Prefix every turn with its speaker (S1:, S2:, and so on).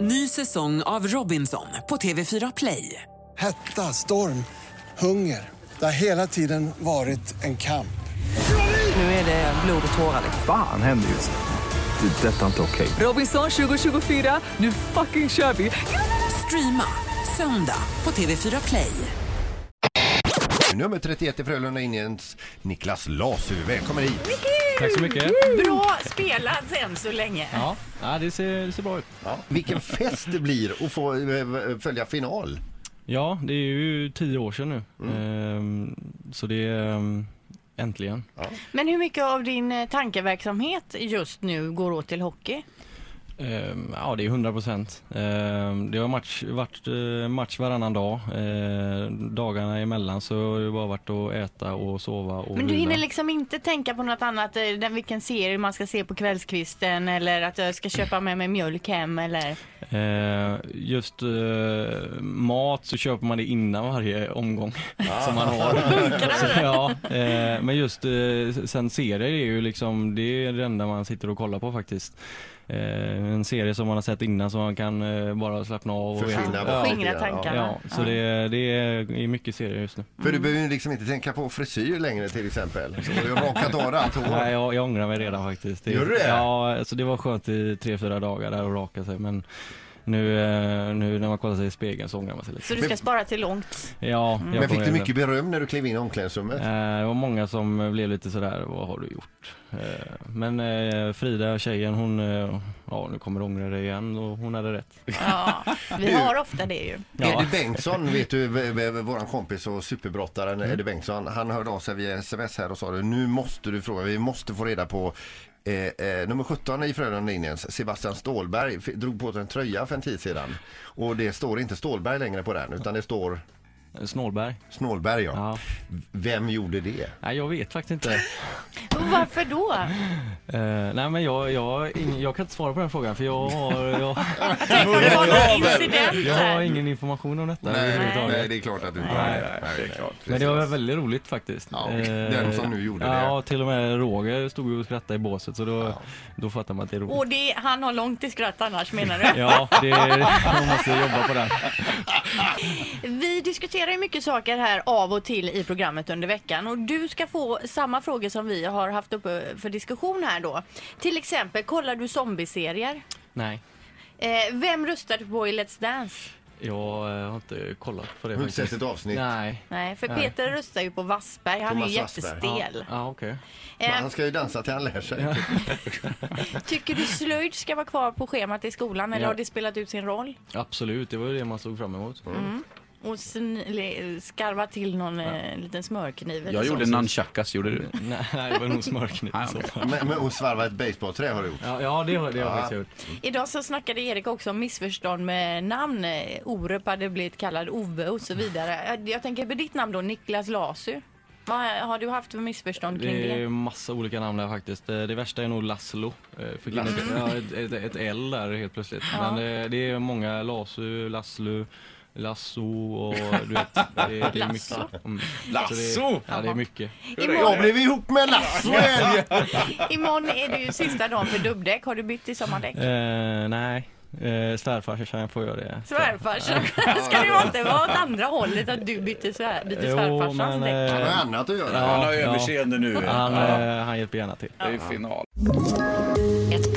S1: Ny säsong av Robinson på TV4 Play.
S2: Hetta, storm, hunger. Det har hela tiden varit en kamp.
S1: Nu är det blod och tårar. liksom.
S3: Fan händer just nu. Det. är Detta är inte okej.
S1: Robinson 2024, nu fucking kör vi! Streama söndag på TV4 Play.
S4: Nummer 31 i Frölunda Indians, Niklas Lasu. Välkommen hit!
S5: Tack så mycket.
S6: Bra spelat än så länge.
S5: Ja, ja det, ser, det ser bra ut.
S4: Vilken fest det blir att få eh, följa final.
S5: Ja, det är ju tio år sedan nu. Ehm, så det är ehm, äntligen.
S6: Men hur mycket av din eh, tankeverksamhet just nu går åt till hockey?
S5: Ehm, ja, det är 100 procent. Ehm, det har match, varit eh, match varannan dag. Ehm, dagarna emellan så har det bara varit att äta och sova och
S6: Men du
S5: vila.
S6: hinner liksom inte tänka på något annat, eh, den- vilken serie man ska se på kvällskvisten eller att jag ska köpa med mig mjölk hem eller?
S5: Ehm, Just eh, mat så köper man det innan varje omgång
S4: Ah.
S5: som man har. Så, ja, eh, men just eh, sen serier är ju liksom det, är det enda man sitter och kollar på faktiskt. Eh, en serie som man har sett innan så man kan eh, bara slappna av och
S4: Försvinna
S5: veta.
S4: bort.
S5: Ja,
S4: Skingra
S6: Skingra tankarna.
S5: ja, så det, det är mycket serier just nu.
S4: För du behöver ju liksom inte tänka på frisyr längre till exempel. Så du har ju rakat av allt
S5: Nej,
S4: hår.
S5: jag, jag ångrar mig redan faktiskt.
S4: Gör du det?
S5: Ja, alltså det var skönt i tre, fyra dagar där och raka sig men nu, eh, nu när man kollar sig i spegeln så ångrar man sig lite.
S6: Så du ska spara till långt?
S5: Ja, jag
S4: Men fick
S5: kommer
S4: du
S5: ihåg
S4: mycket beröm när du klev in i omklädningsrummet?
S5: det. Eh, Det var många som eh, blev lite sådär, vad har du gjort? Eh, Men eh, Frida, tjejen, hon, eh, ja nu kommer du ångra dig igen och hon hade rätt.
S6: Ja, vi har ofta det ju.
S5: Ja.
S4: Eddie Bengtsson, vet du, v- v- våran kompis och superbrottaren Eddie Bengtsson, han hörde av sig via sms här och sa det, nu måste du fråga, vi måste få reda på Eh, eh, nummer 17 i Frölunda Indians, Sebastian Stålberg, f- drog på sig en tröja för en tid sedan. Och det står inte Stålberg längre på den, utan det står
S5: Snålberg?
S4: Eh, Snålberg ja.
S5: Ja.
S4: Vem gjorde det?
S5: Nej jag vet faktiskt inte.
S6: Och varför då?
S5: Eh, nej men jag, jag, ing- jag kan inte svara på den frågan för jag har, jag,
S6: Tänk om det var någon incident
S5: jag har
S6: här.
S5: ingen information om detta
S4: Nej,
S5: överhuvudtaget.
S4: nej, det är klart att du inte har det. Nej, det är klart.
S5: Men det var väldigt roligt faktiskt.
S4: Ja,
S5: Eh,
S4: den som nu gjorde det.
S5: Ja, till och med Roger stod ju och skrattade i båset så då, då fattar man att det är roligt.
S6: Och det, han har långt till skratt annars menar du?
S5: Ja, det, man måste jobba på den.
S6: Vi diskuterar ju mycket saker här av och till i programmet under veckan och du ska få samma frågor som vi har haft uppe för diskussion här då. Till exempel, kollar du zombieserier?
S5: Nej.
S6: Eh, vem röstar du på i Let's Dance?
S5: Jag eh, har inte kollat på det
S4: Har du inte sett ett avsnitt?
S5: Nej.
S6: Nej, för
S5: Nej.
S6: Peter röstar ju på Wassberg. Han är
S4: Thomas
S6: ju
S4: Wassberg.
S6: jättestel.
S5: Ja, okej.
S6: Eh,
S4: Han ska ju dansa till han lär sig.
S6: tycker du slöjd ska vara kvar på schemat i skolan eller
S5: Ja.
S6: har det spelat ut sin roll?
S5: Absolut, det var ju det man såg fram emot.
S4: Mm.
S6: Mm. Och sn- le- skarva till någon eh, liten smörkniv eller
S7: Jag
S6: så.
S7: gjorde nunchakas, gjorde du?
S5: Nej, det var nog smörkniv i så fall.
S4: Men, men, och svarva ett basebollträ har du gjort.
S5: Ja, ja, det har det har jag faktiskt gjort.
S6: Idag så snackade Erik också om missförstånd med namn. Eh, Orup hade blivit kallad Ove och så vidare. Eh, Jag tänker på ditt namn då, Niklas Lasu. Vad har du haft för missförstånd kring
S5: Det är
S6: det?
S5: massa olika namn där faktiskt. Eh, Det värsta är nog Laszlo. Eh, Fick in ett, ja, ett, ett, ett L där helt plötsligt. Men eh, det är många Lasu, Laszlo, Lasso och du vet. Det, är- det är
S6: Lasso?
S5: mycket. Mm. Så Det, ja, det är mycket.
S4: Jag
S6: Imorgon,
S4: blev ihop med Lasse!
S6: imorgon är det ju sista dagen för dubbdäck. Har du bytt till sommardäck?
S5: Eh, nej, eh, svärfarsan får göra det.
S6: Svärfarsan, ska det inte vara åt andra hålet att du byter, svär, byter
S5: Jo, men,
S6: svärfarsans däck?
S5: eh,
S4: Han har annat att göra.
S7: Han
S5: Ja.
S7: har överseende nu.
S5: Han,
S7: Ja,
S5: eh, han hjälper gärna till.
S7: det är ju final.
S8: Ett